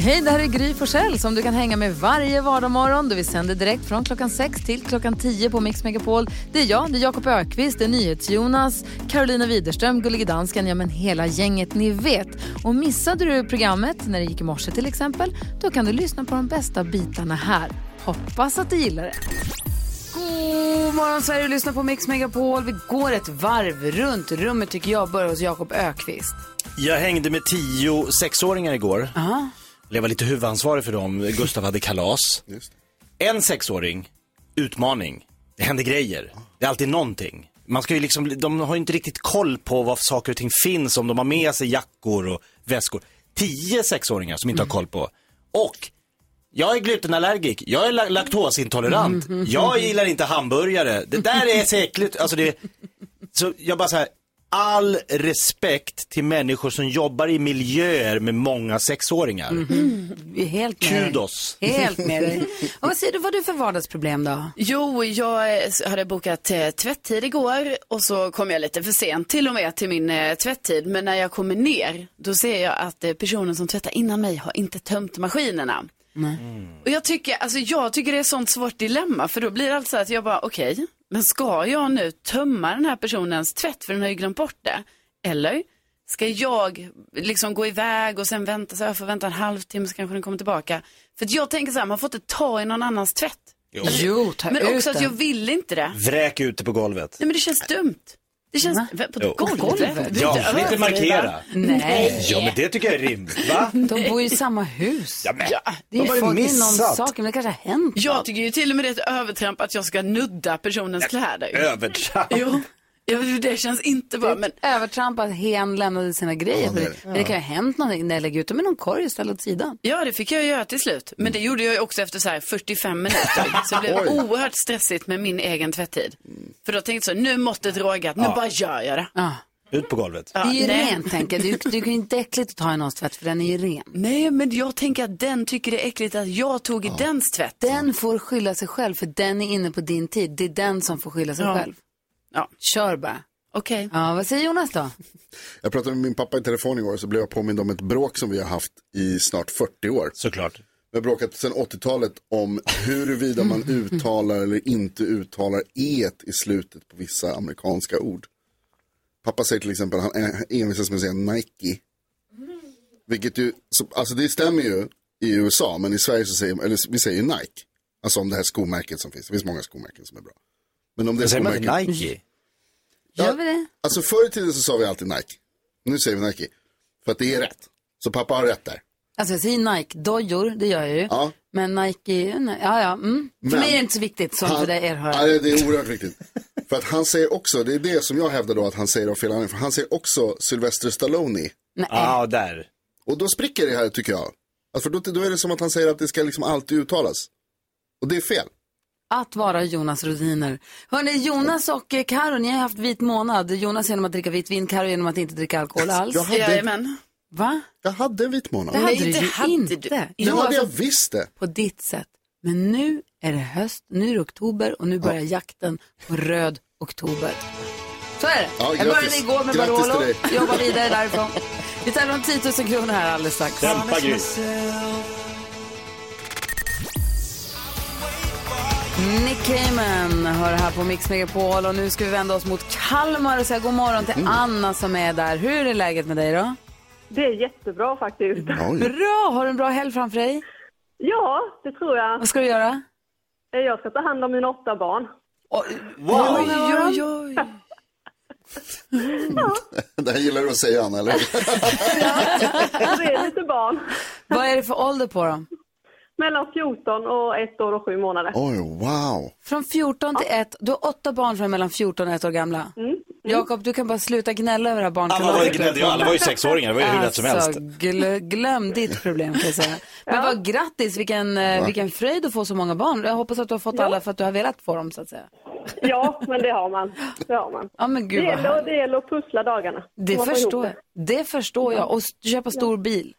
Hej, det här är Gry Forssell som du kan hänga med varje vardagsmorgon. Vi sänder direkt från klockan 6 till klockan 10 på Mix Megapol. Det är jag, det är Jakob Ökvist, det är NyhetsJonas, Carolina Widerström, Gullige Dansken, ja men hela gänget ni vet. Och missade du programmet när det gick i morse till exempel, då kan du lyssna på de bästa bitarna här. Hoppas att du gillar det. God morgon Sverige, du lyssnar på Mix Megapol. Vi går ett varv runt rummet tycker jag, börjar hos Jakob Ökvist. Jag hängde med tio sexåringar igår. Jag var lite huvudansvarig för dem. Gustav hade kalas. En sexåring, utmaning. Det händer grejer. Det är alltid någonting. Man ska ju liksom, de har ju inte riktigt koll på vad saker och ting finns, om de har med sig jackor och väskor. Tio sexåringar som inte har koll på. Och jag är glutenallergisk, jag är la- laktosintolerant, jag gillar inte hamburgare. Det där är så äckligt. Alltså det, så jag bara så här, all respekt till människor som jobbar i miljöer med många sexåringar. Mhm. Vi är helt med dig. Kudos. Helt med dig. Och vad säger du, vad har du för vardagsproblem då? Jo, jag eh, hade bokat eh, tvätttid igår och så kom jag lite för sent till och med till min eh, tvätttid. Men när jag kommer ner, då ser jag att eh, personen som tvättar innan mig har inte tömt maskinerna. Och jag tycker, alltså jag tycker det är sånt svårt dilemma för då blir det alltså att jag bara okej, men ska jag nu tömma den här personens tvätt för den har ju glömt bort det? Eller ska jag liksom gå iväg och sen vänta, så här, jag får vänta en halvtimme så kanske den kommer tillbaka. För att jag tänker så här, man får inte ta i någon annans tvätt. Alltså, Jo, ta men ut också att den. jag vill inte det. Nej Vräk ute på golvet. men det känns dumt. Det känns, Va? på Jo. golvet? Golvet? Du är Ja, lite inte överdriven. markera. Nej, Ja, men det tycker jag är rimligt. Va? de bor ju i samma hus. Ja, men, Det är vad ju har folk du det är någon missat? sak, men det kanske har hänt. Jag tycker ju till och med det är ett övertramp att jag ska nudda personens kläder. Övertramp. Jo, Ja, det känns inte bra. Men Övertramp att hen lämnade sina grejer. Ja, det är det. Men det kan ju ha hänt någonting när jag lägger ut dem i någon korg och ställer åt sidan. Ja, det fick jag göra till slut. Men det Mm. gjorde jag ju också efter så här 45 minuter. Så det blev Oj. oerhört stressigt med min egen tvätttid. För då tänkte jag så, nu måttet rågat, nu bara gör jag det. Ja. Ut på golvet. Ja, Det är ju nej. rent, tänker jag. Det är ju- det är ju inte äckligt att ta i någons tvätt, för den är ju ren. Nej, men jag tänker att den tycker det är äckligt att jag tog i dens tvätt. Den får skylla sig själv, för den är inne på din tid. Det är den som får skylla sig Ja. själv. Ja. Kör bara. Okej. Ja, vad säger Jonas då? Jag pratade med min pappa i telefon igår så blev jag påmind om ett bråk som vi har haft i snart 40 år. Såklart. Vi har bråkat sedan 80-talet om huruvida man uttalar eller inte uttalar e i slutet på vissa amerikanska ord. Pappa säger till exempel, han en- envisas med att säga Nike. Vilket ju, så- alltså det stämmer ju i USA, men i Sverige så säger eller vi säger ju Nike. Alltså om det här skomärket som finns, det finns många skomärken som är bra. Men om det är Men säger man skomärket, inte Nike? Gör vi det? alltså förr i tiden så sa vi alltid Nike. Nu säger vi Nike, för att det är rätt. Så pappa har rätt där. Alltså jag säger Nike-dojor, det gör jag ju. Ja. Men Nike, nej, ja ja. Mm. För Men- mig är det inte så viktigt som för dig er hör. Nej, det är oerhört viktigt. För att han säger också, det är det som jag hävdar då att han säger av fel anledning, för han säger också Sylvester Stallone. Nej. Ah. Ja, där. Och då spricker det här tycker jag. Alltså, för då, då är det som att han säger att det ska liksom alltid uttalas. Och det är fel. Att vara Jonas Rhodiner. Hörni, Jonas och eh, Karo, ni har haft vit månad. Jonas genom att dricka vitt vin, Karo genom att inte dricka alkohol alls. Jag hade, Jajamän. Va? jag hade en vit Det månad. hade det du ju hade inte. du. Det Jo, hade jag alltså, visst det. på ditt sätt. Men nu är det höst, nu är det oktober och nu börjar jakten på röd oktober. Så är det. Ja, jag började grattis. igår med Grattis Barolo, till dig. jobbar vidare därifrån. Vi tävlar om 10 000 kronor här alldeles strax. Dämpa Gry. Nick Cayman hör här på Mix Megapol och nu ska vi vända oss mot Kalmar och säga god morgon Mm. till Anna som är där. Hur är läget med dig då? Det är jättebra faktiskt. Oj. Bra! Har du en bra helg framför dig? Ja, det tror jag. Eh, Vad ska du göra? Jag ska ta hand om mina åtta barn. Wow. Oj, oj, oj. Det här gillar du att säga Anna, eller hur? Det är lite barn. Vad är det för ålder på dem? Mellan 14 och 1 år och 7 månader. Oj, wow. Från 14 till 1. Du har åtta barn som är mellan 14 och 1 år gamla. Mm. Jakob, du kan bara sluta gnälla över det här Alla var ju barnkalaset. gnällde ju, alla var ju sexåringar, det var ju hur lätt som helst. Alltså, glö, glöm ditt problem kan jag säga. Men vad grattis, vilken, eh, vilken fröjd att få så många barn. Jag hoppas att du har fått alla för att du har velat få dem så att säga. Ja, men det har man. Det har man. Ja men gud Det vad gäller, härligt. och det gäller att pussla dagarna. Det Man får ihop förstår jag. Det förstår jag. Och s- köpa stor bil.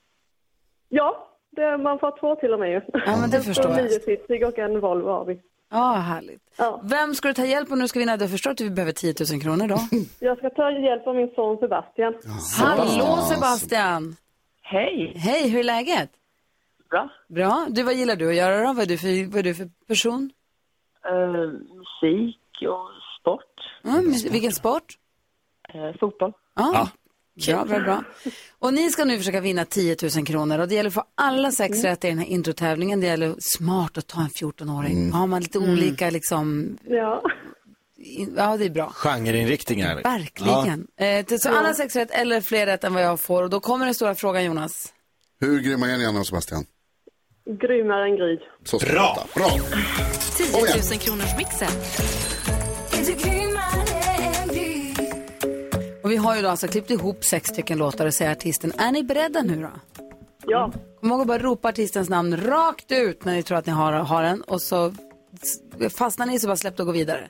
Ja, det, man får två till och med ju. Ja, men det förstår En jag. niositsig och en Volvo har vi. Ja, härligt. Ja. Vem ska du ta hjälp av nu ska vinna? Jag förstår att du behöver 10 000 kronor då. Jag ska ta hjälp av min son Sebastian. Hallå Sebastian! Hej! Hej, hur är läget? Bra. Bra. Du, vad gillar du att göra då? Vad är du för, vad är du för person? Eh, musik och sport. Mm, men vilken sport? Eh, fotboll. Ja. Bra, bra, bra. Och ni ska nu försöka vinna 10 000 kronor och det gäller att få alla sex rätt i den här introtävlingen. Det gäller smart att ta en 14-åring. Har man lite olika liksom, Ja. in- ja det är bra. Genreinriktningar. Verkligen. Eh, till- så alla sex rätt eller fler rätt än vad jag får och då kommer den stora frågan Jonas. Hur grymma är ni Anna och Sebastian? Grymmare än Gry. Så ska Bra. det låta. Bra! 10 000 kronors mixen. Och vi har ju då alltså klippt ihop sex stycken låtar och säger artisten, är ni beredda nu då? Ja. Kom ihåg att bara ropa artistens namn rakt ut när ni tror att ni har, har den och så s- fastnar ni så bara släpp det och gå vidare.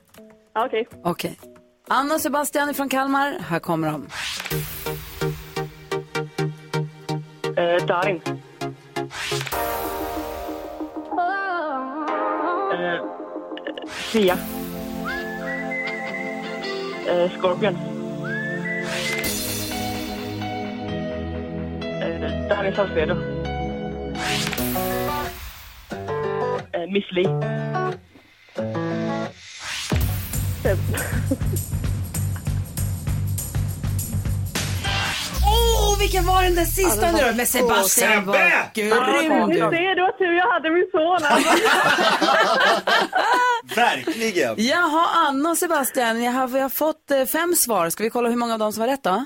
ja Okej. Okej. Anna och Sebastian från Kalmar, här kommer de. Eh, Darin. Eh, Sia. Eh, Scorpion. Eh, Danny Saucedo. Eh, Miss Li. Åh, vilken var den där sista nu då? Med Sebastian var grym Nu du. ser du vad tur jag hade min son. Verkligen. Jaha, Anna och Sebastian, jag har, vi har fått eh, fem svar. Ska vi kolla hur många av dem som var rätt då?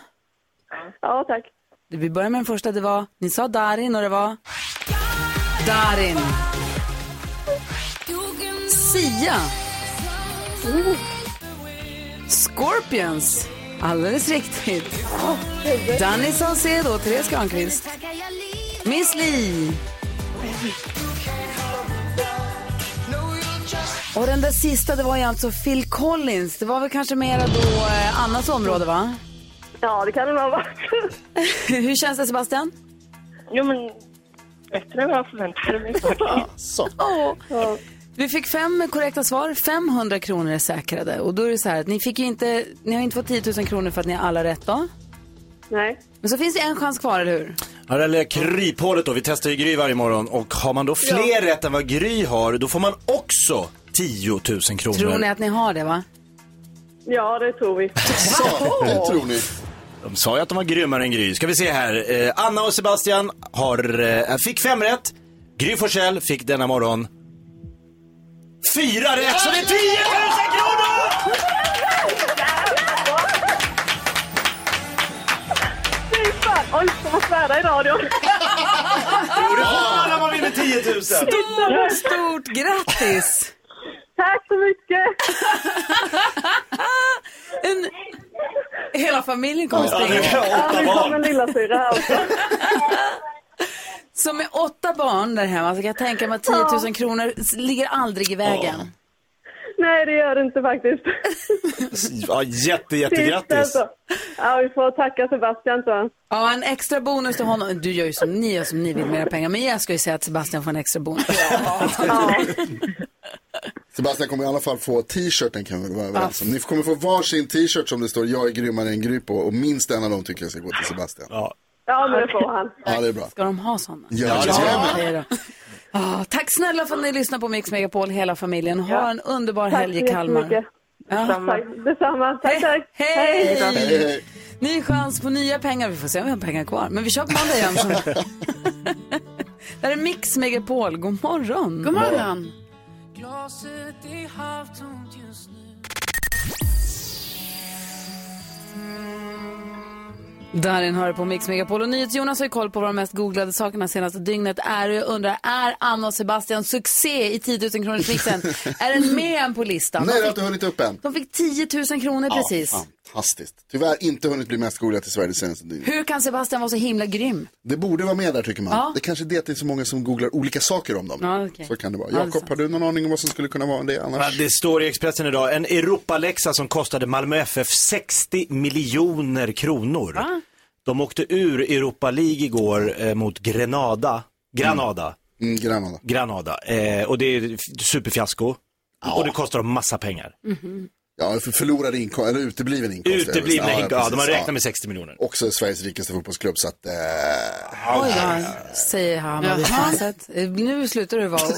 Ja, tack. Vi börjar med den första, det var, ni sa Darin och det var? Darin. Sia. Oh. Scorpions. Alldeles riktigt. Danny Saucedo, Therese Granqvist. Miss Li. Och den där sista, det var ju alltså Phil Collins. Det var väl kanske mera då eh, Annas område, va? Ja, det kan det nog ha varit. Hur känns det, Sebastian? Jo, men bättre än vad jag förväntade mig faktiskt. Vi fick fem korrekta svar, 500 kronor är säkrade. Och då är det så här att ni, fick ju inte, ni har ju inte fått 10 000 kronor för att ni har alla rätt då. Nej. Men så finns det en chans kvar, eller hur? Ja, det lilla kryphålet då. Vi testar ju Gry varje morgon och har man då fler rätt än vad Gry har, då får man också 10 000 kronor. Tror ni att ni har det, va? Ja, det tror vi. Så, det tror ni. De sa ju att de var grymmare än Gry. Ska vi se här. Eh, Anna och Sebastian har, eh, fick fem rätt. Gry Forssell fick denna morgon fyra rätt, så det är 10 000 kronor! Fy fan! Oj, jag får svära i radio. Jo, det får man när man vinner 10 000. Stort, stort grattis! Tack så mycket! En... Hela familjen kommer Ja, nu springa. kan jag Ja, åtta nu kom en barn. lillasyrra här också. Så med åtta barn där hemma så kan jag tänka mig att 10 000 kronor s- ligger aldrig i vägen. Nej, det gör det inte faktiskt. Ja, jätte, Tyst, jättegrattis. alltså. Ja, vi får tacka Sebastian så. Ja, en extra bonus till honom. Du gör ju som ni gör som ni vill med era pengar. Men jag ska ju säga att Sebastian får en extra bonus. Sebastian kommer i alla fall få t-shirten kan vi väl vara överens om. Ni kommer få varsin t-shirt som det står jag är grymmare än Gry på och minst en av dem tycker jag ska gå till Sebastian. Ja. Ja, men det får han. Ja, det är bra. Ska de ha sådana? Ja, det ska jag med. det är det. Ah, tack snälla för att ni lyssnar på Mix Megapol, hela familjen. Ha en underbar Tack helg i Kalmar. jättemycket. Tack, detsamma. Tack, tack. Hej! Hej, hej. Ny chans på nya pengar. Vi får se om vi har pengar kvar. Men vi kör på måndag igen. det här är Mix Megapol. God morgon. God morgon. Darin hör på Mix Megapol. Och NyhetsJonas har ju koll på vad de mest googlade sakerna senaste dygnet är. Och jag undrar, är Anna och Sebastian succé i 10 000 kronors mixen? är den med än på listan? Nej, De det har inte fick, hunnit upp än. de fick 10 000 kronor precis. Ja, fantastiskt. Tyvärr inte hunnit bli mest googlat i Sverige det senaste dygnet. Hur kan Sebastian vara så himla grym? Det borde vara med där tycker man. Ja. Det kanske är det att det är så många som googlar olika saker om dem. Ja, okej. Så kan det vara. Ja, det är Jakob, sant. har du någon aning om vad som skulle kunna vara det Ja, annars? Det står i Expressen idag, en Europalexa som kostade Malmö FF 60 miljoner kronor. De åkte ur Europa League igår eh, mot Grenada. Granada. Mm, Granada. Granada. Eh, och det är ett f- superfiasko. Och det kostar dem massa pengar. Ja, för förlorade inkomst, eller utebliven inkomst. Uteblivna Ja, inkomst. Ja, de precis. har räknat med 60 miljoner. Också Sveriges rikaste fotbollsklubb, så att... Eh, Oj då, säger Hammarbyfanset. Nu slutar du vara o-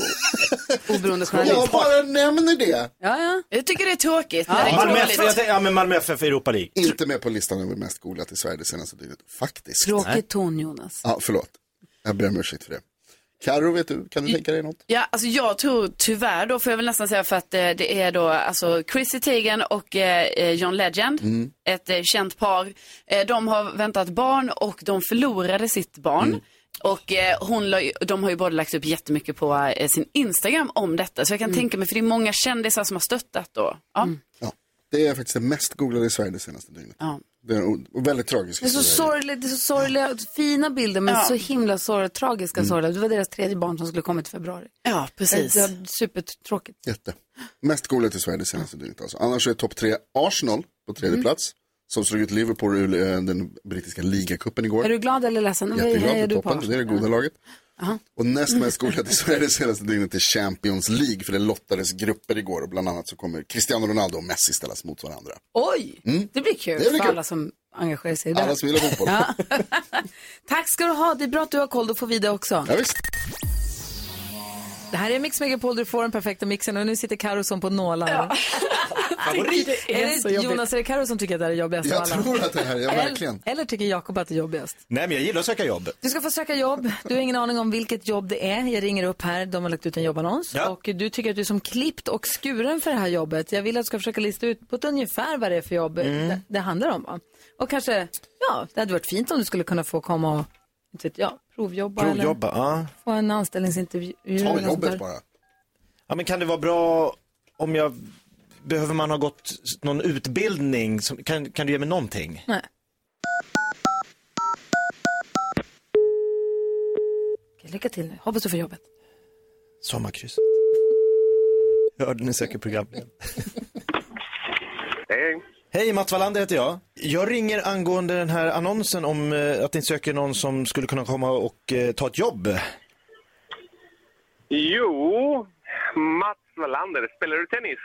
oberoende jag journalist. bara nämner det. Ja, ja. Jag tycker det är tråkigt. Ja. när det är Malmö dåligt. FF, jag tänkte- ja, men Malmö FF i Europa League. Inte med på listan över mest googlat i Sverige det senaste dygnet, faktiskt. Tråkig ton, Jonas. Ja, förlåt. Jag ber om ursäkt för det. Karo, vet du, kan du tänka dig något? Ja, alltså jag tror tyvärr då, får jag väl nästan säga, för att eh, det är då alltså Chrissy Teigen och eh, eh, John Legend, ett eh, känt par. Eh, de har väntat barn och de förlorade sitt barn. Och eh, hon, la ju- de har ju båda lagt upp jättemycket på eh, sin Instagram om detta. Så jag kan tänka mig, för det är många kändisar som har stöttat då. Ja, Ja, det är faktiskt det mest googlade i Sverige det senaste dygnet. ja. Det är en o- väldigt tragisk Det är så historia. sorgligt, det är så sorgliga, fina bilder men Ja. så himla sorgliga, tragiska Mm. sorgliga. Det var deras tredje barn som skulle kommit i februari. ja precis. Det var supertråkigt. Jätte. Mest googlat i Sverige det senaste dygnet alltså. Annars är topp tre Arsenal på tredje Mm. plats. Som slog ut Liverpool ur eh, den brittiska ligacupen igår. Är du glad eller ledsen? Vad Jätteglad hejar på du på? toppen, det är det goda laget. Och näst mest googlat i Sverige det senaste dygnet är Champions League. För det lottades grupper igår och bland annat så kommer Cristiano Ronaldo och Messi ställas mot varandra. Oj, det blir kul Mm. Det blir för kul. alla som engagerar sig i det. Alla som gillar fotboll. Ja. Tack ska du ha, det är bra att du har koll, då får vi det också. visst. Det här är Mix Megapol, du får den perfekta mixen och nu sitter Karo som på nålar. Är det Jonas, är det Karo som tycker att det här är jobbigast av Jag alla? tror att det här är verkligen. Eller tycker Jakob att det är jobbigast? Nej, men jag gillar att söka jobb. Du ska få söka jobb. Du har ingen aning om vilket jobb det är. Jag ringer upp här, de har lagt ut en jobbannons. Ja. Och du tycker att du är som klippt och skuren för det här jobbet. Jag vill att du ska försöka lista ut på ett ungefär vad det är för jobb Mm. det, det handlar om. Va? Och kanske, ja, det hade varit fint om du skulle kunna få komma och inte vet jag, provjobba, eller Provjobba, ja. få en anställningsintervju. eller Ta något sånt där. jobbet bara. Ja, men kan det vara bra om jag... Behöver man ha gått någon utbildning? Som, kan, kan du ge mig någonting? Nej. Okej, lycka till nu. Hoppas du får jobbet. Sommarkrysset. Jag hörde ni söker programledare. Hej. Hej, Mats Wallander heter jag. Jag ringer angående den här annonsen om eh, att ni söker någon som skulle kunna komma och eh, ta ett jobb. Jo, Mats Wallander, spelar du tennis?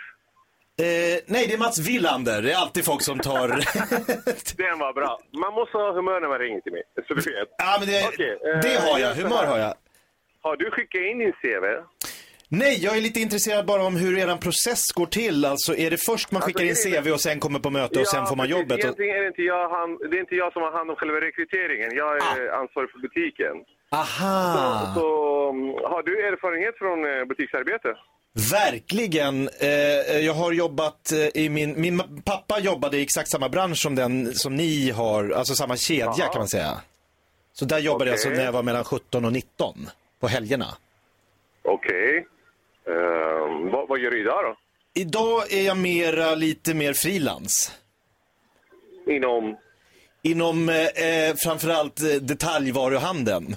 Eh, nej, det är Mats Villander. Det är alltid folk som tar... Den var bra. Man måste ha humör när man ringer till mig, så du vet. ja, men det, Okej, eh, det har jag. jag ska Humör bara- har jag. Har du skickat in din CV? Nej, jag är lite intresserad bara om hur er process går till. Alltså, är det först man skickar Alltså, in är det- CV och sen kommer på möte och sen får man precis. jobbet? Och... Egentligen är det, inte jag, han, det är inte jag som har hand om själva rekryteringen. Jag är Ah. ansvarig för butiken. Aha! Så mm, har du erfarenhet från eh, butiksarbete? Verkligen. Eh, jag har jobbat eh, i min... Min ma- pappa jobbade i exakt samma bransch som den som ni har. Alltså samma kedja Aha. kan man säga. Så där jobbade jag alltså Okej. när jag var mellan 17 och 19. På helgerna. Okej. Ehm, vad, vad gör du idag då? Idag är jag mera, lite mer frilans. Inom... Inom eh, eh, framförallt eh, detaljvaruhandeln.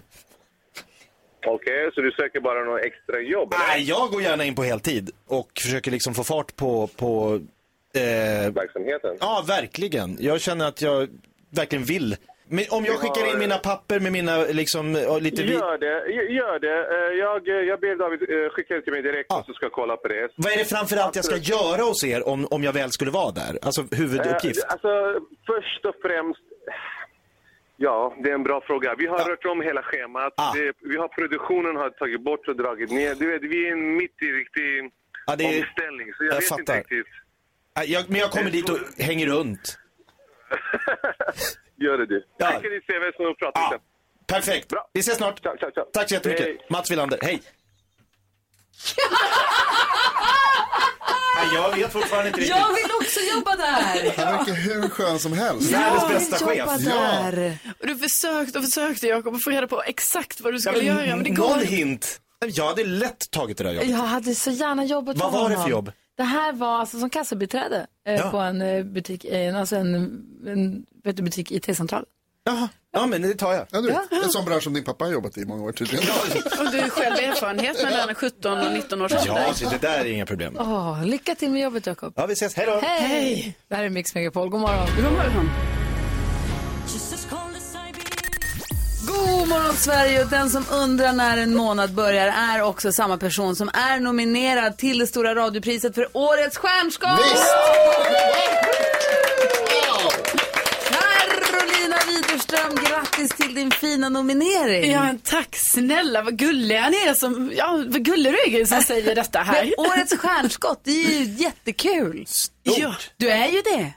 Okej, så du söker bara något extra jobb? eller? Nej, jag går gärna in på heltid och försöker liksom få fart på... på eh, Verksamheten? ja, verkligen. Jag känner att jag verkligen vill. Men om jag skickar in mina papper med mina liksom, och lite... Vi, Gör det, gör det. Eh, Jag, jag ber David eh, skicka det till mig direkt Ja. och så ska jag kolla på det. vad är det framförallt jag ska göra hos er om, om jag väl skulle vara där? Alltså huvuduppgift. Eh, Alltså, först och främst... Ja, det är en bra fråga. Vi har rört om hela schemat. Ah. Det, vi har produktionen har tagit bort och dragit ner. Du vet, vi är mitt i riktig Ja, det är- omställning, så jag, jag vet inte fattar. riktigt. Nej, Jag, men jag kommer dit och hänger runt. Gör det du. Ja. Skicka ditt CV så pratar vi Ja, sen. perfekt. Bra. Vi ses snart. Ciao, ciao, ciao. Tack så jättemycket. Hej. Mats Wilander, hej. Nej, jag vet fortfarande inte riktigt. Jag vill också jobba där! Han verkar hur skön som helst. Världens Jag vill bästa chef. jobba Ja. där. Och du försökte och försökte Jakob att få reda på exakt vad du Ja, skulle men göra, men det går någon inte. hint. Jag hade lätt tagit det där jobbet. Jag hade så gärna jobbat Vad med var det honom. för jobb? Det här var alltså som kassabiträde eh, Ja. på en eh, butik, eh, en- alltså en, en vet du, butik IT-central. Jaha. Ja, men det tar jag. Ja, du vet, en sån bransch som din pappa har jobbat i i många år tydligen. Och du har själv erfarenhet mellan 17 och 19 års ålder. Ja, det där är inga problem. Åh, lycka till med jobbet Jakob. Ja, vi ses. Hej då. Hej! Det här är Mix Megapol, god morgon. God morgon. God God morgon Sverige! Och Den som undrar när en månad börjar är också samma person som är nominerad till det stora radiopriset för årets stjärnskap! Carolina Widerström, grattis till din fina nominering! Ja, men tack snälla, vad gulliga ni är som, ja, vad gullig du är Gry, som säger detta här. Men årets stjärnskott, det är ju jättekul! Ja. Du är ju det!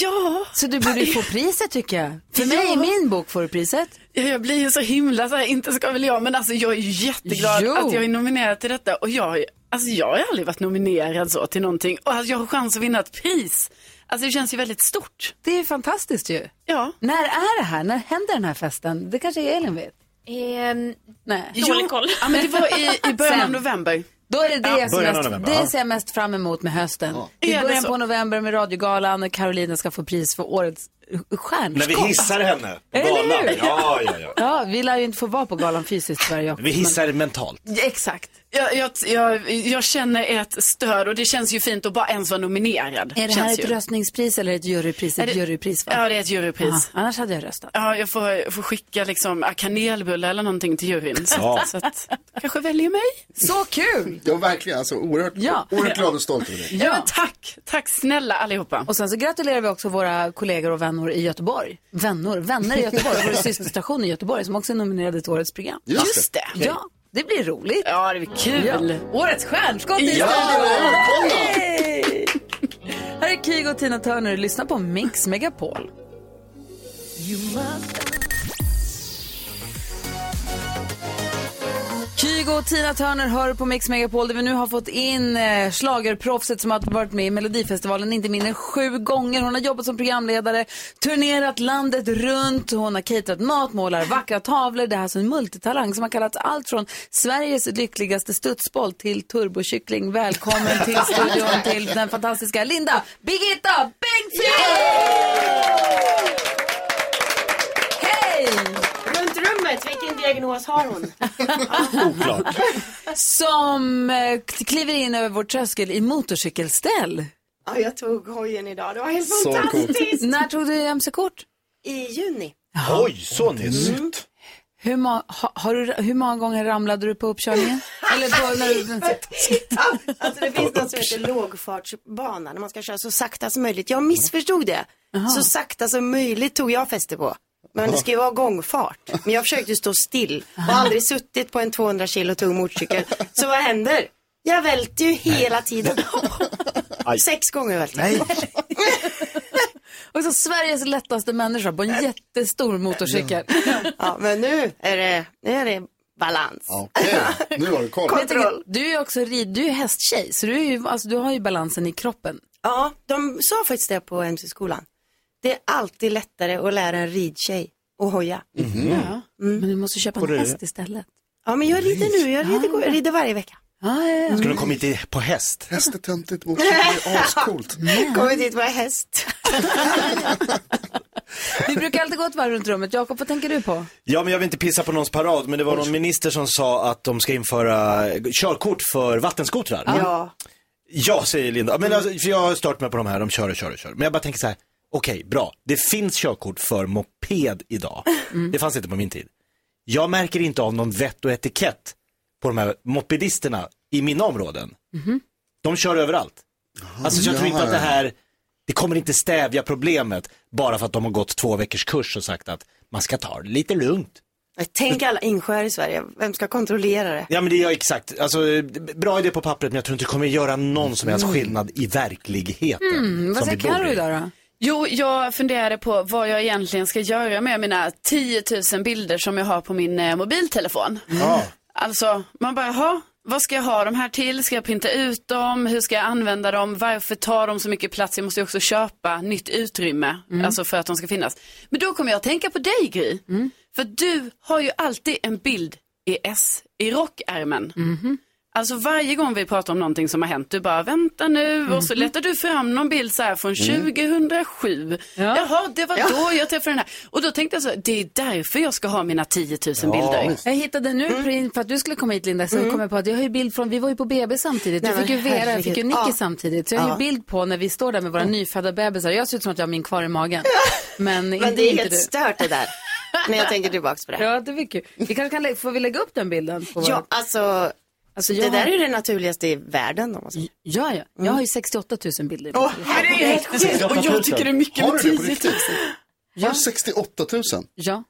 Ja. Så du borde ju få priset tycker jag. För mig i Ja. min bok får du priset. Ja, Jag blir ju så himla så här, inte ska väl jag, men alltså jag är ju jätteglad Jo. att jag är nominerad till detta. Och jag, har ju- alltså jag har ju aldrig varit nominerad så till någonting. Och att jag har chans att vinna ett pris. Alltså det känns ju väldigt stort. Det är ju fantastiskt ju. Ja. När är det här? När händer den här festen? Det kanske Elin vet? Ehm, Nej. dålig koll. Ja, men det var i, i början av Sen. november. Då är det det, som början av mest, november, det ja. ser jag mest fram emot med hösten. I Är det början så? på november med Radiogalan när Carolina ska få pris för årets När vi stjärnskott. hissar henne på Eller hur? galan. Ja, ja, ja. Ja, vi lär ju inte få vara på galan fysiskt tyvärr Jakob. Vi hissar mentalt. Ja, Exakt. Jag, jag, jag, jag känner ett stöd och det känns ju fint att bara ens vara nominerad. Men Är det här känns ett ju. röstningspris eller ett jurypris? Ett Är det- jurypris va? Ja, det är ett jurypris. Ja, annars hade jag röstat. Ja, jag får, får skicka liksom ja, kanelbulle eller någonting till juryn. Så, Ja. så att, kanske väljer mig. Så kul! Ja, verkligen. Alltså, oerhört, Ja. oerhört glad och stolt över dig. Ja, men tack. Tack snälla allihopa. Och sen så gratulerar vi också våra kollegor och vänner i Göteborg. Vänner, vänner i Göteborg, vår systerstation i Göteborg som också är nominerade till årets program. Just det. Ja, det blir roligt. Ja, det blir kul. Årets stjärnskott i Ja! studion! Hej! Här är Kygo och Tina Turner. Lyssna på Mix Megapol. Kygo och Tina Turner hör på Mix Megapol där vi nu har fått in eh, schlagerproffset som har varit med i Melodifestivalen inte mindre än sju gånger. Hon har jobbat som programledare, turnerat landet runt, hon har caterat mat, målar vackra tavlor. Det här är alltså en multitalang som har kallats allt från Sveriges lyckligaste studsboll till turbokyckling. Välkommen till studion till den fantastiska Linda Birgitta Bengtzing! Hej! Runt rummet, vilken diagnos har hon? Oklart. som eh, kliver in över vår tröskel i motorcykelställ. Ja, jag tog hojen idag. Det var helt Så coolt. fantastiskt. När tog du MC-kort? I juni. Oj, så nyss. Hur, ma- ha, har du, hur många gånger ramlade du på uppkörningen? Eller på, när du, Alltså det finns något som heter lågfartsbana när man ska köra så sakta som möjligt. Jag missförstod det. Så sakta som möjligt tog jag fäste på. Men det ska ju vara gångfart. Men jag försökte stå still och har aldrig suttit på en 200 kilo tung motorcykel. Så vad händer? Jag välter ju hela tiden. Sex gånger välte jag. och så Sveriges lättaste människa på en jättestor motorcykel. Ja, men nu är det, nu är det balans. Okej, nu har du koll. Jag tänker, du är också rid, du är hästtjej, så du, är ju, alltså, du har ju balansen i kroppen. Ja, de sa faktiskt det på MC-skolan. Det är alltid lättare att lära en ridtjej att hoja. Mm. Mm. Men du måste köpa en häst istället. Ja, men jag rider nu. Jag rider, jag rider varje vecka. Ja, ja, ja. Skulle du kommit i- på häst? Häst är töntigt, motorcykel är ascoolt. Kommer dit vara häst. Vi brukar alltid gå ett varv runt rummet. Jakob, vad tänker du på? Ja, men jag vill inte pissa på någons parad, men det var någon minister som sa att de ska införa eh, körkort för vattenskotrar. Ja. Ja, säger Linda. Men alltså, för jag har stört mig på de här, de kör och kör och kör. Men jag bara tänker så här, okej, bra. Det finns körkort för moped idag. Det fanns inte på min tid. Jag märker inte av någon vett och etikett på de här mopedisterna i mina områden. De kör överallt. Alltså, så jag tror inte att det här, det kommer inte stävja problemet bara för att de har gått två veckors kurs och sagt att man ska ta det lite lugnt. Tänk alla insjöar i Sverige. Vem ska kontrollera det? Ja men det är jag exakt, alltså eh, bra idé på pappret men jag tror inte det kommer göra någon som helst skillnad i verkligheten. Mm, vad som säger vi bor Carro i. idag då? Jo, jag funderade på vad jag egentligen ska göra med mina 10 000 bilder som jag har på min eh, mobiltelefon. Ja. Alltså, man bara, jaha, vad ska jag ha dem här till? Ska jag printa ut dem? Hur ska jag använda dem? Varför tar de så mycket plats? Jag måste ju också köpa nytt utrymme, alltså för att de ska finnas. Men då kommer jag att tänka på dig, Gry. För du har ju alltid en bild i S, i rockärmen. Alltså varje gång vi pratar om någonting som har hänt, du bara vänta nu och så letar du fram någon bild så här från 2007. Jaha, det var då jag träffade den här. Och då tänkte jag så här, det är därför jag ska ha mina 10 000 bilder. Jag hittade nu, Mm. print för att du skulle komma hit Linda, så kom jag på att jag har ju bild från, vi var ju på BB samtidigt, du Nej, men fick ju Vera, jag herregud. fick ju Nicky Ja. samtidigt. Så jag har ju Ja. Mm. bild på när vi står där med våra nyfödda bebisar, jag ser ut som att jag har min kvar i magen. Men, Men det är inte helt du. stört det där. när jag tänker tillbaka på det. Ja, det var kul. Vi kanske kan lä- får vi lägga upp den bilden? På Ja, alltså, alltså det där är ju det naturligaste i världen. Om man säger. Ja, ja. Jag har ju 68 000 bilder. Åh, men det är helt sjukt. Och jag tycker det är mycket Har med du det på 10 000. riktigt? Har du 68 000? Ja.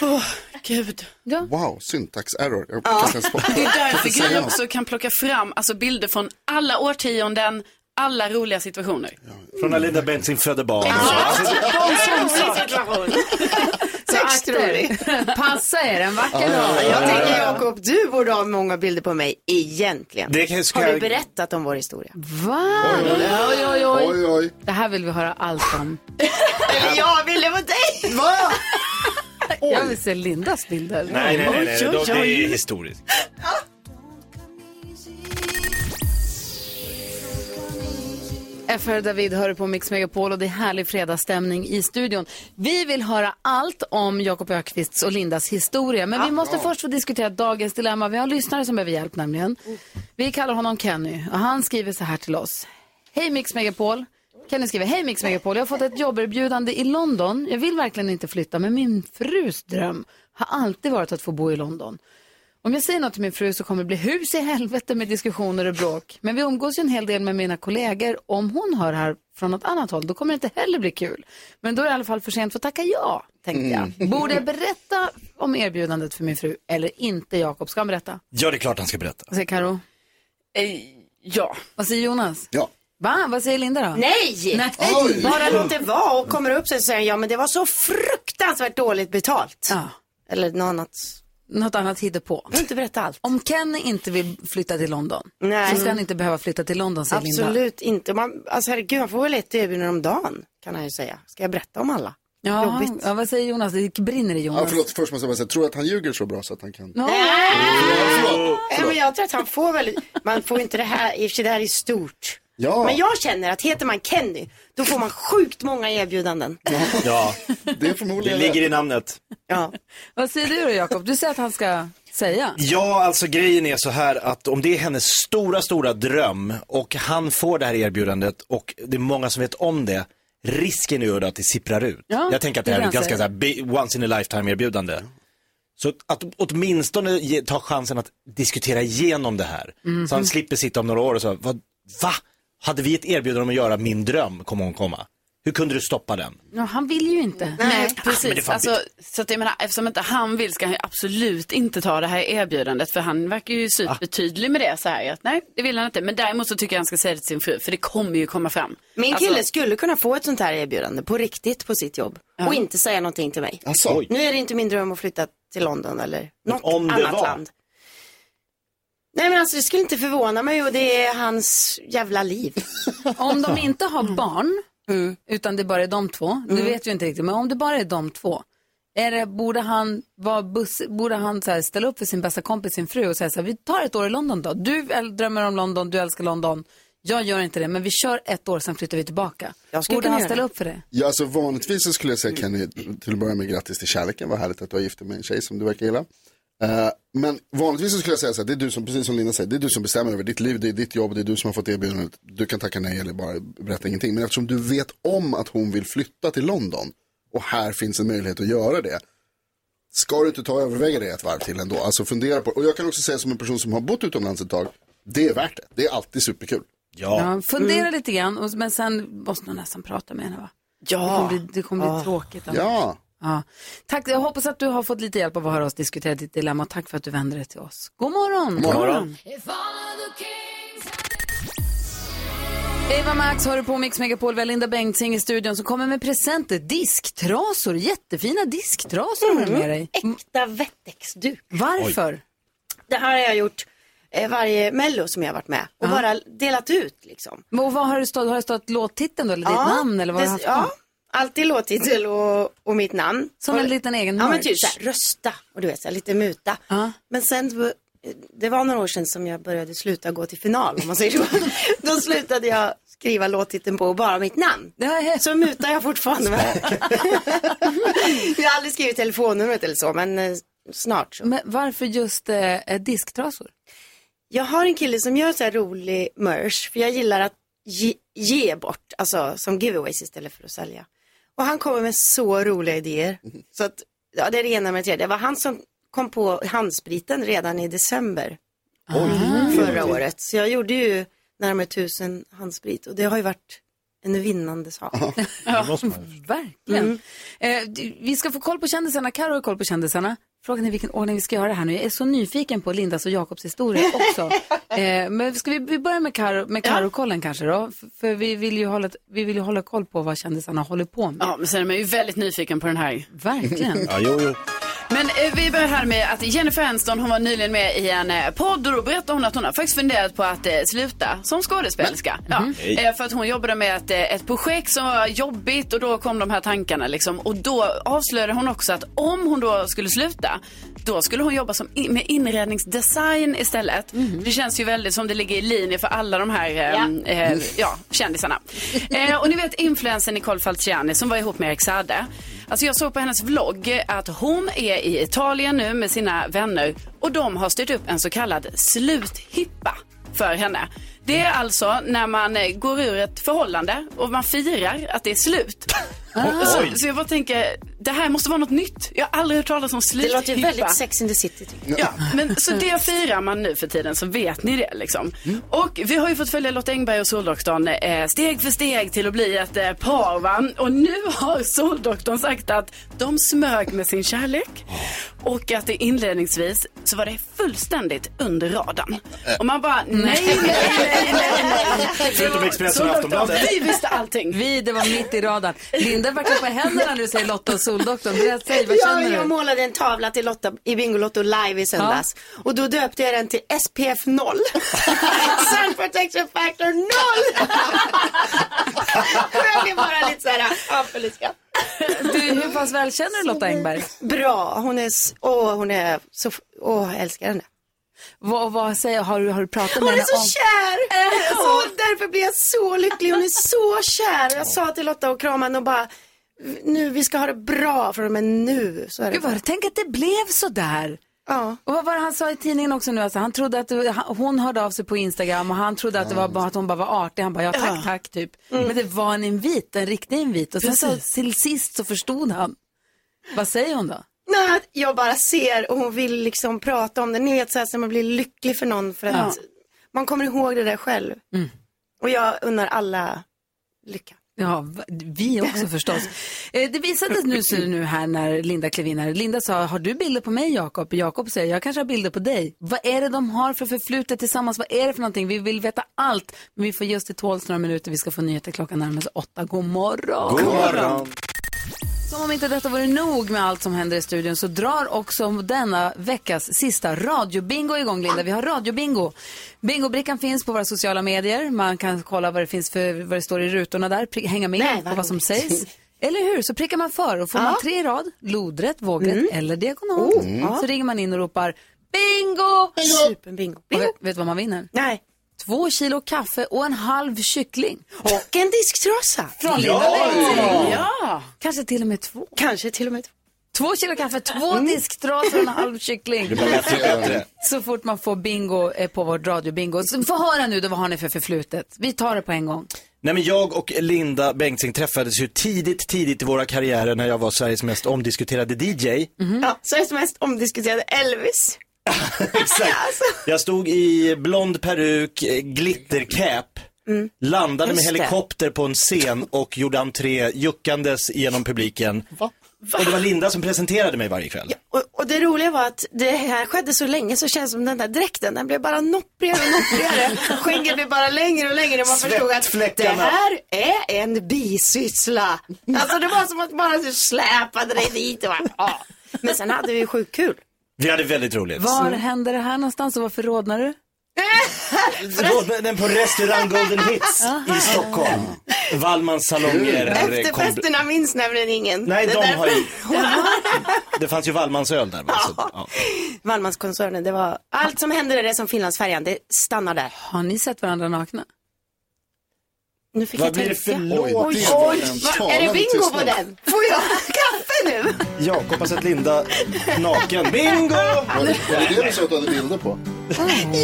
Åh, gud. Wow, syntax error. Jag kan inte ens få- Det är kan inte därför säga Gry något. också kan plocka fram alltså, bilder från alla årtionden, alla roliga situationer. Från när Linda Bengtzing födde barn. Alltså, De som rolig sa- Så akter, passa er en vacker dag. Jag tänker Jakob, du borde ha många bilder på mig egentligen. Det kan- ska Har du jag- berättat om vår historia? Va? Oj, oj, oj. Det här vill vi höra allt om. Eller jag ville vara dig! Va? Jag vill se Lindas bilder. Nej, nej, nej, nej. Oj, oj, Det oj. är historiskt. FR David hör på Mix Megapol och det är härlig fredagsstämning i studion. Vi vill höra allt om Jakob Ökvists och Lindas historia. Men vi måste först få diskutera dagens dilemma. Vi har en lyssnare som behöver hjälp nämligen. Vi kallar honom Kenny och han skriver så här till oss. Hej Mix Megapol. Kenny skriver, hej Mix Megapol. Jag har fått ett jobberbjudande i London. Jag vill verkligen inte flytta men min frus dröm har alltid varit att få bo i London. Om jag säger något till min fru så kommer det bli hus i helvete med diskussioner och bråk. Men vi umgås ju en hel del med mina kollegor. Om hon hör här från något annat håll, då kommer det inte heller bli kul. Men då är det i alla fall för sent för att tacka ja, tänkte jag. Borde jag berätta om erbjudandet för min fru eller inte, Jakob? Ska han berätta? Ja, det är klart han ska berätta. Vad säger Karo? Eh, ja. Vad säger Jonas? Ja. Va? Vad säger Linda då? Nej! Nej! Bara låt det vara och kommer upp sig och säger ja men det var så fruktansvärt dåligt betalt. Eller något annat. Något annat hittepå. Jag inte berätta allt. Om Kenny inte vill flytta till London Nej. så ska han inte behöva flytta till London, säger Linda. Absolut inte. Man, alltså herregud, man får väl ett erbjudande om dagen kan han ju säga. Ska jag berätta om alla? Ja, Jobbigt. ja, vad säger Jonas? Det brinner i Ja, Jonas. förlåt, först måste jag bara säga, tror du att han ljuger så bra så att han kan? Nej, men jag tror att han får väl, man får inte det här, i och för sig det här är stort. Ja. Men jag känner att heter man Kenny, då får man sjukt många erbjudanden. Ja, det är förmodligen Det ligger i namnet. Ja. Vad säger du då, Jakob? Du säger att han ska säga. Ja, alltså grejen är så här att om det är hennes stora, stora dröm och han får det här erbjudandet och det är många som vet om det, risken är ju då att det sipprar ut. Ja, jag tänker att det det här är är det ett han ganska så här, bi- once in a lifetime erbjudande. Så att- att åtminstone ge, ta chansen att diskutera igenom det här. Mhm. Så han slipper sitta om några år och säga, vad, va? Hade vi ett erbjudande om att göra min dröm, kommer hon komma. Hur kunde du stoppa den? Ja, han vill ju inte. Nej, men det är precis. fan Alltså, så att jag menar, eftersom inte han vill ska han ju absolut inte ta det här erbjudandet. För han verkar ju supertydlig med det. Så här, att, nej, det vill han inte. Men däremot så tycker jag han ska säga det till sin fru. För det kommer ju komma fram. Min Alltså- kille skulle kunna få ett sånt här erbjudande på riktigt på sitt jobb och inte säga någonting till mig. Asså. Oj. Nu är det inte min dröm att flytta till London eller Men något om det annat var? land. Nej men alltså det skulle inte förvåna mig och det är hans jävla liv. Om Mm. de inte har barn, utan det bara är de två, det vet vi inte riktigt, men om det bara är de två, är det, borde han, var buss, borde han så här ställa upp för sin bästa kompis, sin fru och säga så här, vi tar ett år i London då. Du äl- drömmer om London, du älskar London. Jag gör inte det, men vi kör ett år, sen flyttar vi tillbaka. skulle Borde kunna han göra ställa det. upp för det? Ja, alltså vanligtvis så skulle jag säga Kenny, till att börja med grattis till kärleken, vad härligt att du har gift dig med en tjej som du verkar gilla. Eh, men vanligtvis så skulle jag säga så här, det är du som, precis som Linda säger, det är du som bestämmer över ditt liv, det är ditt jobb, det är du som har fått erbjudandet, du kan tacka nej eller bara berätta ingenting. Men eftersom du vet om att hon vill flytta till London och här finns en möjlighet att göra det, ska du inte ta och överväga det ett varv till ändå? Alltså fundera på Och jag kan också säga som en person som har bott utomlands ett tag, det är värt det, det är alltid superkul. Ja, fundera Mm. lite grann, och, men sen måste man nästan prata med henne va? Ja. Det kommer bli, det kommer bli Ah. Ja. tråkigt. annars. Ja. Ja. Tack, jag hoppas att du har fått lite hjälp av att höra oss diskutera ditt dilemma. Tack för att du vände dig till oss. God morgon! God morgon. Eva Max har du på Mix Megapol. Vi har Linda Bengtzing i studion som kommer med presenter. Disktrasor, jättefina disktrasor har du med dig. Äkta vettexduk. Varför? Det här har jag gjort eh, varje mello som jag har varit med och bara delat ut liksom. Men Och vad har det stått, har det stått låttiteln då, eller ditt namn? Eller vad har det- du haft Ja, alltid låttitel och, och mitt namn. Som och, en liten egen Ja, men merch. typ så här, rösta och du vet, så här, lite muta. Men sen, eh, det var några år sedan som jag började sluta gå till final om man säger så. Då slutade jag skriva låttiteln på bara mitt namn. Så mutar jag fortfarande. jag har aldrig skrivit telefonnumret eller så, men eh, snart så. Men varför just eh, disktrasor? Jag har en kille som gör så här rolig merch, för jag gillar att ge, ge bort, alltså som giveaways istället för att sälja. Och han kommer med så roliga idéer. Så att, ja, det är det ena med det tredje. Det var han som kom på handspriten redan i december förra året. Så jag gjorde ju närmare tusen handsprit och det har ju varit en vinnande sak. Verkligen. Mm. Eh, d- vi ska få koll på kändisarna. Karo har koll på kändisarna. Frågan är vilken ordning vi ska göra det här nu. Jag är så nyfiken på Lindas och Jakobs historia också. eh, men ska vi, vi börja med Karo, med Karo-kollen kanske då? F- för vi vill, ju hålla, vi vill ju hålla koll på vad kändisarna håller på med. Ja, men sen är man ju väldigt nyfiken på den här. Verkligen. Ja, jo, jo. Men eh, vi börjar här med att Jennifer Aniston, hon var nyligen med i en eh, podd och då berättade hon att hon har faktiskt funderat på att eh, sluta som skådespelerska. Ja, eh, för att hon jobbade med ett, eh, ett projekt som var jobbigt och då kom de här tankarna liksom. Och då avslöjade hon också att om hon då skulle sluta, då skulle hon jobba som in- med inredningsdesign istället. Det känns ju väldigt som det ligger i linje för alla de här eh, eh, ja, kändisarna. Eh, och ni vet influensen Nicole Falciani som var ihop med Erik Saade. Alltså jag såg på hennes vlogg att hon är i Italien nu med sina vänner och de har styrt upp en så kallad sluthippa för henne. Det är alltså när man eh, går ur ett förhållande och man firar att det är slut. Så, så jag bara tänker, det här måste vara något nytt. Jag har aldrig hört talas om Det sluthippa. låter ju väldigt Sex in the City. tycker jag. Ja, men så det firar man nu för tiden, så vet ni det liksom. Och vi har ju fått följa Lotta Engberg och Soldoktorn eh, steg för steg till att bli ett eh, par va? Och nu har Soldoktorn sagt att de smög med sin kärlek och att det inledningsvis så var det fullständigt under radarn. Och man bara, nej, nej, nej, nej, nej. Förutom Expressen och Soldoktorn, Aftonbladet. Vi visste allting. Vi, det var mitt i radarn. Linda verkar på händerna när du säger Lotta och Soldoktorn. Berätta, säg, vad Ja, känner jag du? målade en tavla till Lotta i Bingolotto live i söndags. Och då döpte jag den till SPF 0. Sun Protection Factor 0! och jag blev bara lite så här, ja, förlåt, ja. du? Hur pass väl känner du Lotta Engberg? Bra, hon är, s- åh, hon är så, f- åh, jag älskar henne. Vad, vad säger, har, du, har du pratat med Hon är henne så om? kär! Så därför blir jag så lycklig. Hon är så kär. Jag sa till Lotta och kramade och bara, nu, vi ska ha det bra från och med nu. Så är det. Gud, vad, tänk att det blev så där. Ja. Och vad var det han sa i tidningen också nu? Alltså, han trodde att det, han, hon hörde av sig på Instagram och han trodde att, det var bara, att hon bara var artig. Han bara, ja tack, tack, typ. Men det var en invit, en riktig invit. Och sen så, till sist så förstod han. Vad säger hon då? Nej, att jag bara ser och hon vill liksom prata om det. Ni vet så här när man blir lycklig för någon för att man kommer ihåg det där själv. Och jag unnar alla lycka. Ja, va- vi också förstås. Eh, Det visades nu, så nu här när Linda klev in här. Linda sa, har du bilder på mig Jakob? Jakob säger, jag kanske har bilder på dig. Vad är det de har för förflutet tillsammans? Vad är det för någonting? Vi vill veta allt. Men vi får ge oss till tåls några minuter. Vi ska få nyheter klockan närmar sig åtta. God morgon! God morgon. Som om inte detta vore nog med allt som händer i studion så drar också denna veckas sista radiobingo igång, Linda. Vi har radiobingo. Bingobrickan finns på våra sociala medier. Man kan kolla vad det, finns för, vad det står i rutorna där, pri- hänga med Nej, vad på vad som roligt. sägs. Eller hur? Så prickar man för och får man tre i rad, lodrätt, vågrätt Mm. eller diagonalt, så ringer man in och ropar bingo! Superbingo. Och Oh. Bingo. vet, vet du vad man vinner? Nej. Två kilo kaffe och en halv kyckling. Och en disktrasa. Från Linda Bengtzing. Kanske till och med två. Kanske till och med. Två kilo kaffe, två disktrasor och en halv kyckling. Det blir bättre och bättre. Så fort man får bingo eh, på vårt radiobingo. Så Få höra nu då, vad har ni för förflutet? Vi tar det på en gång. Nej men jag och Linda Bengtzing träffades ju tidigt, tidigt i våra karriärer när jag var Sveriges mest omdiskuterade Mm. DJ. Ja, Sveriges mest omdiskuterade Elvis. Exakt. Alltså. Jag stod i blond peruk, eh, glittercap, landade Mm. Just med det. helikopter på en scen och gjorde entré juckandes genom publiken. Och det var Linda som presenterade mig varje kväll. Och, och det roliga var att det här skedde så länge så känns det som den där dräkten, den blev bara nopprigare och nopprigare. Skägget blev bara längre och längre och man förstod att det Svettfläckarna. här är en bisyssla. Alltså det var som att bara så släpade dig dit och bara, ja. Men sen hade vi ju sjukt kul. Vi hade väldigt roligt. Var händer det här någonstans och varför rodnar du? Den på restaurang Golden Hits i Stockholm. Wallmans salonger. Efterfesterna minns nämligen ingen. Nej, Det är de har därför- ju... Det fanns ju Wallmansöl där. va? Så, ja. Wallmanskoncernen, det var allt som hände där är som Finlandsfärjan, det stannar där. Har ni sett varandra nakna? Nu fick Vad jag blir det tänka. för Oj, låt? det var Oj, en vad- är det talande bingo på tystnad. den? Får jag kaffe nu? Jakob hoppas att Linda naken. Bingo! Var det var det det du sa att du hade bilder på?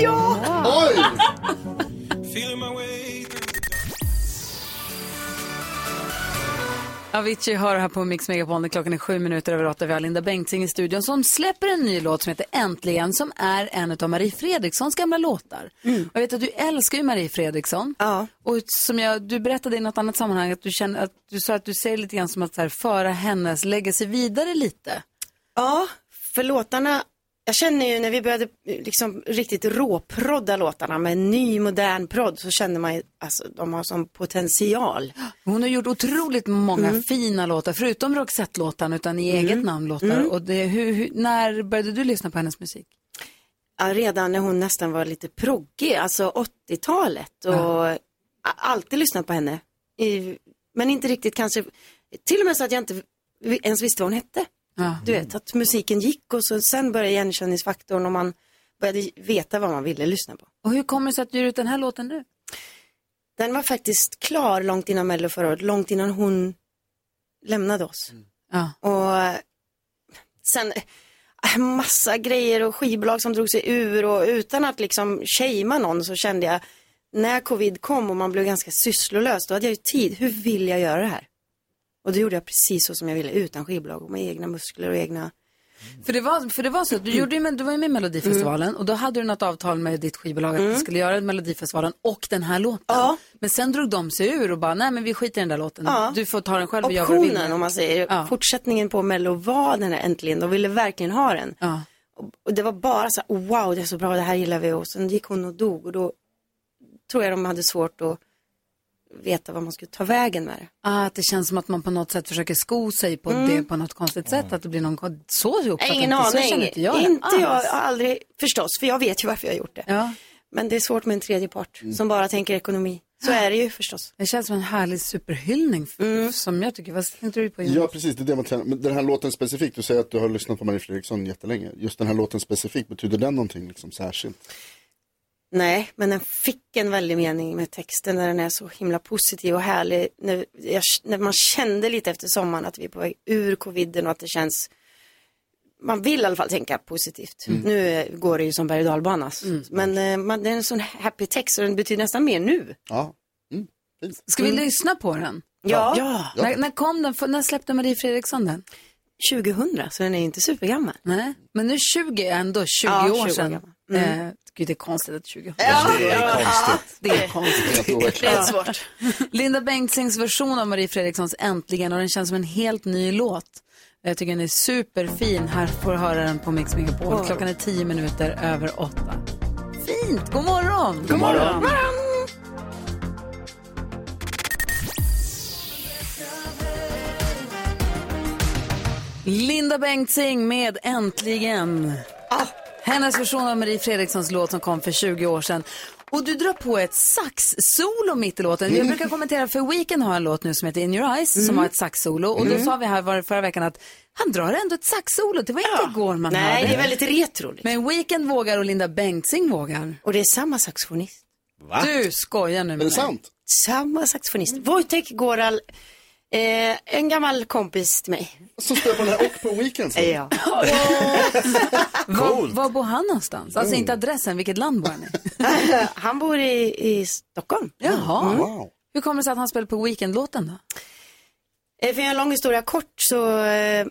ja! Oj! Avicii hör här på Mix Megapol när klockan är sju minuter över åtta. Vi har Linda Bengtzing i studion som släpper en ny låt som heter Äntligen som är en av Marie Fredrikssons gamla låtar. Mm. Och Jag vet att du älskar ju Marie Fredriksson. Och som jag, du berättade i något annat sammanhang att du, känner, att du sa att du ser det lite grann som att så här, föra hennes, lägga sig vidare lite. Ja, för låtarna, jag känner ju när vi började eh, liksom riktigt råprodda låtarna med ny modern prodd så känner man ju, alltså de har sån potential. Hon har gjort otroligt många Mm. fina låtar, förutom Roxette-låtan, utan i eget namn låtar. Mm. Och det, hur, hur, när började du lyssna på hennes musik? Ja, redan när hon nästan var lite proggig, alltså 80-talet och a- alltid lyssnat på henne. I, men inte riktigt kanske, till och med så att jag inte vi- ens visste vad hon hette. Du vet, att musiken gick och så, sen började igenkänningsfaktorn och man började veta vad man ville lyssna på. Och hur kommer det sig att du gör ut den här låten nu? Den var faktiskt klar långt innan Mello förra året, långt innan hon lämnade oss. Mm. Och eh, sen eh, massa grejer och skivbolag som drog sig ur och utan att liksom shamea någon så kände jag när covid kom och man blev ganska sysslolös, då hade jag ju tid. Hur vill jag göra det här? Och det gjorde jag precis så som jag ville utan skivbolag och med egna muskler och egna För det var, för det var så, att du, Mm. gjorde ju, men- du var ju med i Melodifestivalen och då hade du något avtal med ditt skivbolag att Mm. du skulle göra Melodifestivalen och den här låten. Men sen drog de sig ur och bara, nej men vi skiter i den där låten. Ja. Du får ta den själv och göra vad du vill. optionen om man säger. Ja. Fortsättningen på Mello var den här äntligen, de ville verkligen ha den. Ja. Och, och det var bara så här, "Oh, wow det är så bra, det här gillar vi och sen gick hon och dog och då tror jag de hade svårt att veta vad man skulle ta vägen med det. Ah, att det känns som att man på något sätt försöker sko sig på Mm. det på något konstigt sätt. Att det blir någon kon- så jag uppfattar Ingen inte, aning. Så känner inte jag det alls. jag, har aldrig förstås, för jag vet ju varför jag har gjort det. Men det är svårt med en tredje part som bara tänker ekonomi. Så är det ju förstås. Det känns som en härlig superhyllning f- Mm. som jag tycker. Vad tänkte du på? Jonas? Ja, precis. Det är det man tränar. Men den här låten specifikt, du säger att du har lyssnat på Marie Fredriksson jättelänge. Just den här låten specifikt, betyder den någonting liksom särskilt? Nej, men den fick en väldig mening med texten när den är så himla positiv och härlig. När, jag, när man kände lite efter sommaren att vi är på väg ur coviden och att det känns man vill i alla fall tänka positivt. Nu eh, går det ju som berg och dalbana. Men eh, man, det är en sån happy text och den betyder nästan mer nu. Ja. Ska vi lyssna på den? Ja. När, när kom den? För- När släppte Marie Fredriksson den? 2000, så den är inte supergammal. Nej, men nu 20 är ändå, 20 Ja, 20 år år sedan. gammal. Mm. Eh, gud, det är konstigt att 20 år. Det är konstigt. Det är konstigt. Det är svårt. Linda Bengtzings version av Marie Fredrikssons Äntligen och den känns som en helt ny låt. Jag tycker den är superfin. Här får du höra den på Mix Megapol. Klockan är 10 minuter över 8. Fint! God morgon! God morgon. Linda Bengtzing med Äntligen. Hennes version av Marie Fredrikssons låt som kom för 20 år sedan. Och du drar på ett sax-solo mitt i låten. Jag brukar kommentera för Weekend har en låt nu som heter In Your Eyes som har ett sax-solo. Och då sa vi här var- förra veckan att han drar ändå ett sax-solo. Det var inte igår man Nej, hörde. det är väldigt retro. Liksom. Men Weekend vågar och Linda Bengtzing vågar. Och det är samma saxofonist. Ah. Va? Du skojar nu med Är det sant? Samma saxofonist. Wojtek Goral, eh, en gammal kompis till mig. Som spelar på den här och på Weekends. Ja. Var, var bor han någonstans? Alltså Mm. inte adressen, vilket land bor han i? Han bor i, i Stockholm. Jaha. Wow. Hur kommer det sig att han spelar på Weekend-låten då? Eh, för att göra en lång historia kort så eh,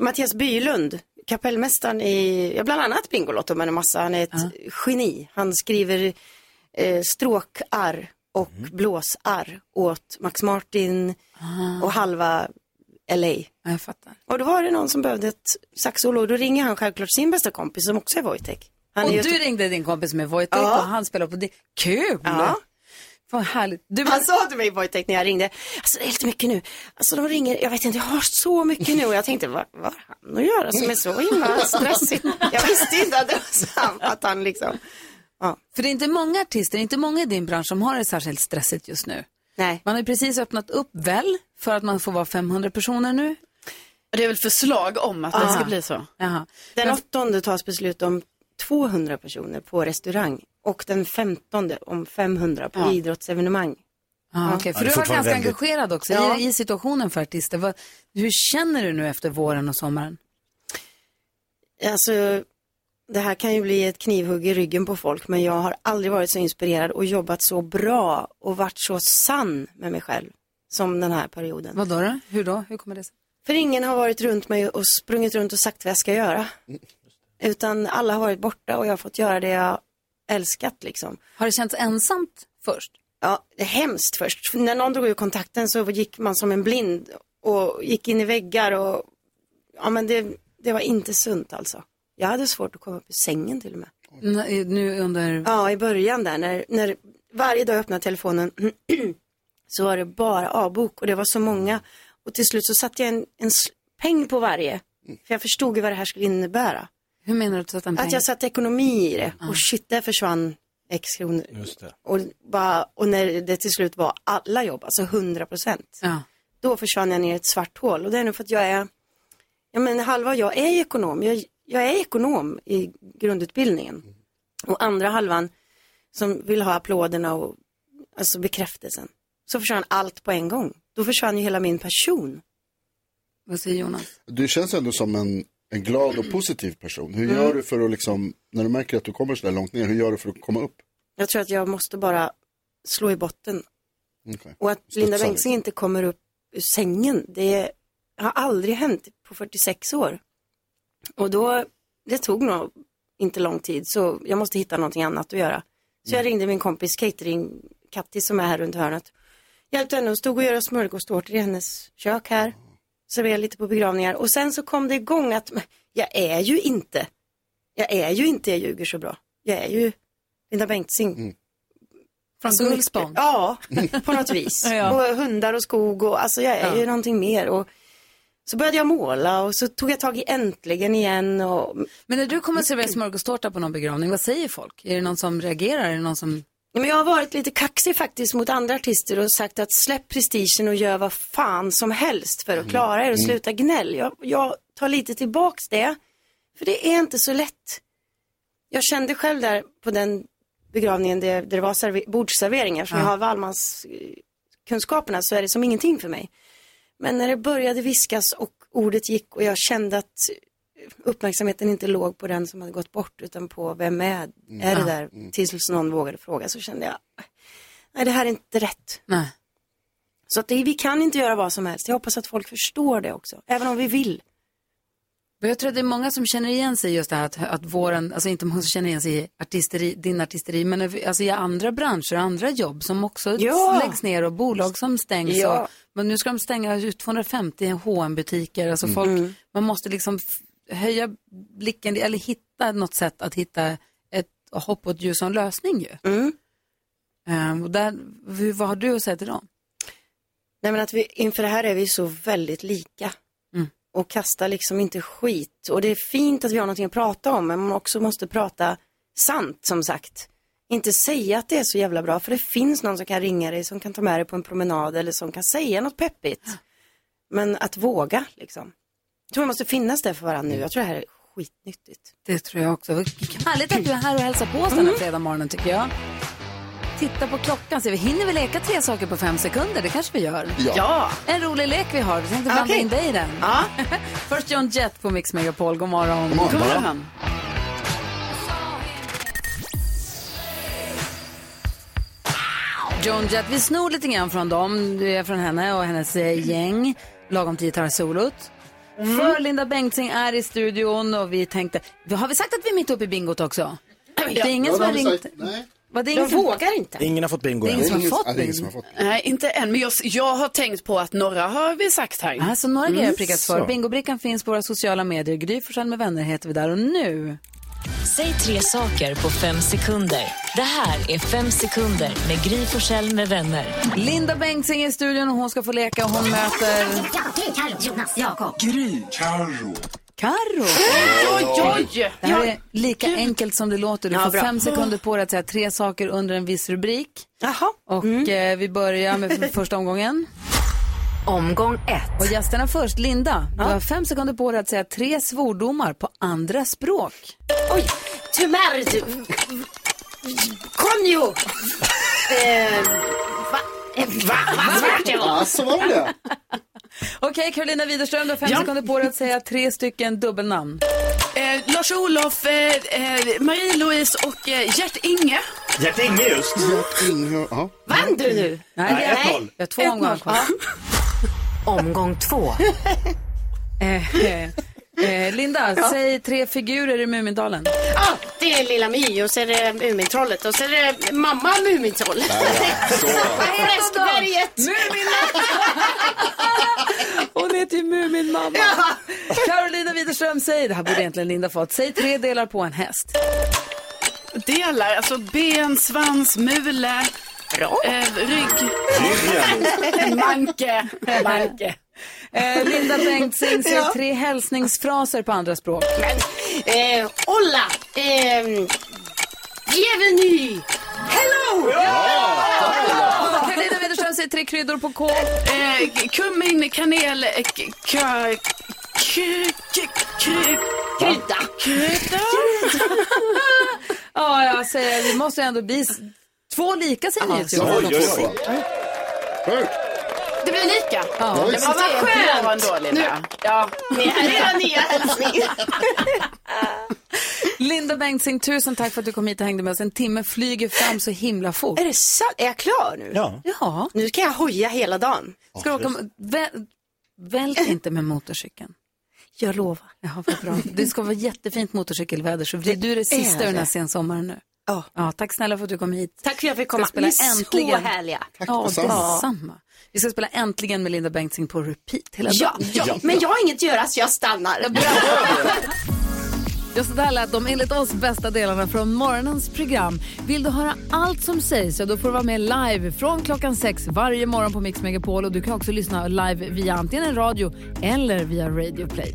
Mattias Bylund, kapellmästaren i, ja, bland annat Bingolotto men en massa, han är ett geni. Han skriver eh, stråkar och Mm. blåsar åt Max Martin Ah. och halva LA. Ja, Jag fattar. Och då var det någon som behövde ett saxolo och då ringer han självklart sin bästa kompis som också är Wojtek. Han är och ju- du ringde din kompis med Wojtek Ja. och han spelar på det. Kul! Ja. Alltså- Vad härligt. Du, men, Han sa till mig Wojtek när jag ringde, alltså det är lite mycket nu. Alltså de ringer, jag vet inte, jag har så mycket nu och jag tänkte, vad vad har han att göra som är så himla stressigt? Jag visste inte att det var sant, att han liksom, för det är inte många artister, det är inte många i din bransch som har det särskilt stressigt just nu. nej. Man har ju precis öppnat upp väl för att man får vara 500 personer nu. Det är väl förslag om att det ska bli så. Jaha. Den åttonde tas beslut om 200 personer på restaurang och den femtonde om 500 på idrottsevenemang. Ah, okay. För du det är var ganska fortfarande väldigt- engagerad också Ja. i, i situationen för artister. Vad, hur känner du nu efter våren och sommaren? Alltså, det här kan ju bli ett knivhugg i ryggen på folk, men jag har aldrig varit så inspirerad och jobbat så bra och varit så sann med mig själv som den här perioden. Vad då, då? Hur då? Hur kommer det sig? För ingen har varit runt mig och sprungit runt och sagt vad jag ska göra. Utan alla har varit borta och jag har fått göra det jag älskat liksom. Har det känts ensamt först? Ja, det är hemskt först. För när någon drog ur kontakten så gick man som en blind och gick in i väggar och ja men det, det var inte sunt alltså. Jag hade svårt att komma upp ur sängen till och med. N- eh, nu under... Ja, i början där när, när varje dag jag öppnade telefonen så var det bara A-bok och det var så många. Och till slut så satte jag en, en sl- peng på varje. För jag förstod ju vad det här skulle innebära. Hur menar du att du satte en peng? Att jag satte ekonomi i det. Och shit, där försvann x kronor. Just det. Och, bara, och när det till slut var alla jobb, alltså 100 procent. Ja. Då försvann jag ner i ett svart hål. Och det är nog för att jag är, ja men halva jag är ekonom. Jag, jag är ekonom i grundutbildningen. Och andra halvan som vill ha applåderna och alltså bekräftelsen. Så försvann allt på en gång. Då försvann ju hela min person. Vad säger Jonas? Du känns ändå som en, en glad och positiv person. Hur gör du för att liksom, när du märker att du kommer så där långt ner, hur gör du för att komma upp? Jag tror att jag måste bara slå i botten. Okej. Och att Studsa Linda liksom. Bengtzing inte kommer upp ur sängen, det har aldrig hänt på 46 år. Och då, det tog nog inte lång tid, så jag måste hitta någonting annat att göra. Så jag ringde min kompis catering, Katti som är här runt hörnet. Hjälpte henne och stod och göra smörgåstårtor i hennes kök här. Serverade lite på begravningar och sen så kom det igång att men, jag är ju inte, jag är ju inte, jag ljuger så bra. Jag är ju Linda Bengtzing. Från Alltså, Gullspång? Ja, på något vis. Ja. Och hundar och skog och alltså jag är Ja. ju någonting mer. Och så började jag måla och så tog jag tag i äntligen igen och Men när du kommer att Mm. servera smörgåstårta på någon begravning, vad säger folk? Är det någon som reagerar? Är det någon som... Ja, Men jag har varit lite kaxig faktiskt mot andra artister och sagt att släpp prestigen och gör vad fan som helst för att klara er och sluta gnäll. Jag, jag tar lite tillbaks det, för det är inte så lätt. Jag kände själv där på den begravningen där, där det var serve- bordsserveringar, som jag har Wallmans eh, kunskaperna så är det som ingenting för mig. Men när det började viskas och ordet gick och jag kände att uppmärksamheten inte låg på den som hade gått bort utan på vem är, är det där? Tills någon vågade fråga så kände jag, nej det här är inte rätt. Nej. Så att det, vi kan inte göra vad som helst. Jag hoppas att folk förstår det också, även om vi vill. Men jag tror att det är många som känner igen sig just det här att, att våren, alltså inte många som känner igen sig i artisteri, din artisteri, men över- alltså i andra branscher och andra jobb som också Ja. läggs ner och bolag som stängs. Ja. Och, men nu ska de stänga ut 250 hm butiker alltså folk, Mm. man måste liksom f- höja blicken eller hitta något sätt att hitta ett hopp och ett ljus och en lösning ju. Mm. Ehm, och där, hur, vad har du att säga till dem? Nej men att vi, inför det här är vi så väldigt lika. Mm. Och kastar liksom inte skit. Och det är fint att vi har någonting att prata om, men man också måste prata sant som sagt. Inte säga att det är så jävla bra, för det finns någon som kan ringa dig, som kan ta med dig på en promenad eller som kan säga något peppigt. Men att våga liksom. Jag tror vi måste finnas där för varandra nu. Jag tror det här är skitnyttigt. Det tror jag också. Mm. Härligt att du är här och hälsar på oss den här fredag morgonen tycker jag. Titta på klockan, ser vi. Hinner vi leka tre saker på fem sekunder? Det kanske vi gör. Ja. En rolig lek vi har. Vi tänkte blanda Okej. in dig i den. Först John Jett på Mix Megapol. God morgon. God morgon. John Jett, vi snor lite grann från dem. Du är från henne och hennes eh, gäng. Lagom till gitarrsolot. Mm. För Linda Bengtzing är i studion och vi tänkte, har vi sagt att vi är mitt uppe i bingot också? Det är ingen Ja, som det har har vi ringt. sagt. Nej. Vad, det är ingen Jag som- vågar inte. Ingen har fått bingo Det är än. ingen som har Ingen- fått ja, det är ingen som har bingo. fått Nej, inte än, men jag, jag har tänkt på att några har vi sagt här. Ja, så Alltså, några grejer har prickats för. Bingobrickan finns på våra sociala medier. Gry Forssell med vänner heter vi där och nu. Säg tre saker på fem sekunder. Det här är Fem sekunder med Gry Forssell med vänner. Linda Bengtzing är i studion och hon ska få leka och hon möter Carro. Oj, oj, oj. Det här är lika enkelt som det låter. Du Ja, får bra. fem sekunder på dig att säga tre saker under en viss rubrik. Jaha. Och eh, vi börjar med f- första omgången. Omgång ett. Och gästerna först. Linda, du har fem sekunder på dig att säga tre svordomar på andra språk. Oj, tyvärr. du- Konjo. Eh, va? Eh, va? Vad svårt det var. Ja, så var det. Okej, Carolina Widerström, du har fem sekunder på dig att säga tre stycken dubbelnamn. Eh, Lars-Olof, eh, eh, Marie-Louise och eh, Gert-Inge. Gert Inge just. Gert Inge, ja. Vann du nu? Nej, Nej, 1-0. Jag har två omgångar kvar. Omgång två. eh, eh, Linda, Ja. säg tre figurer i Mumindalen. Ja, det är Lilla My och så är det Mumintrollet och så är det mamma Mumintroll. Fläskberget! Hon heter ju Muminmamma. Carolina Widerström, säg, det här borde egentligen Linda fått, säg tre delar på en häst. Delar, alltså ben, svans, mule, eh, rygg. Manke. Manke. Eh, Linda Bengtzing, säg tre hälsningsfraser på andra språk. Eh, Olla! Eh, Bienvenue! Hello! Carolina Widerström, säg tre kryddor på kol. Eh, kummin, kanel, eh, k- k- k- k- k- krydda. Krydda. Ja, jag säger, vi måste ändå bli s- två lika säger ni till oss. Det blir lika. Ja, men visst. det är Vad skönt. bra ändå, Linda. Nu- Ja. Det här är era nya hälsningar. Linda Bengtzing, tusen tack för att du kom hit och hängde med oss. En timme flyger fram så himla fort. Är det sant? Är jag klar nu? Ja. Ja. Nu kan jag hoja hela dagen. Ska du åka, väl, vält inte med motorcykeln. Jag lovar. Ja, vad bra. Det ska vara jättefint motorcykelväder så blir du det är sista det. den här sensommaren nu. Ja. tack snälla för att du kom hit. Tack för att jag fick komma. Ska spela Ni är äntligen. så härliga. Tack ja, detsamma. Vi ska spela äntligen med Linda Bengtzing på repeat hela Ja, dagen. ja, men jag har inget att göra så jag stannar. Just det där lät de enligt oss bästa delarna från morgonens program. Vill du höra allt som sägs så då får du vara med live från klockan sex varje morgon på Mix Megapol och du kan också lyssna live via antingen en radio eller via Radio Play.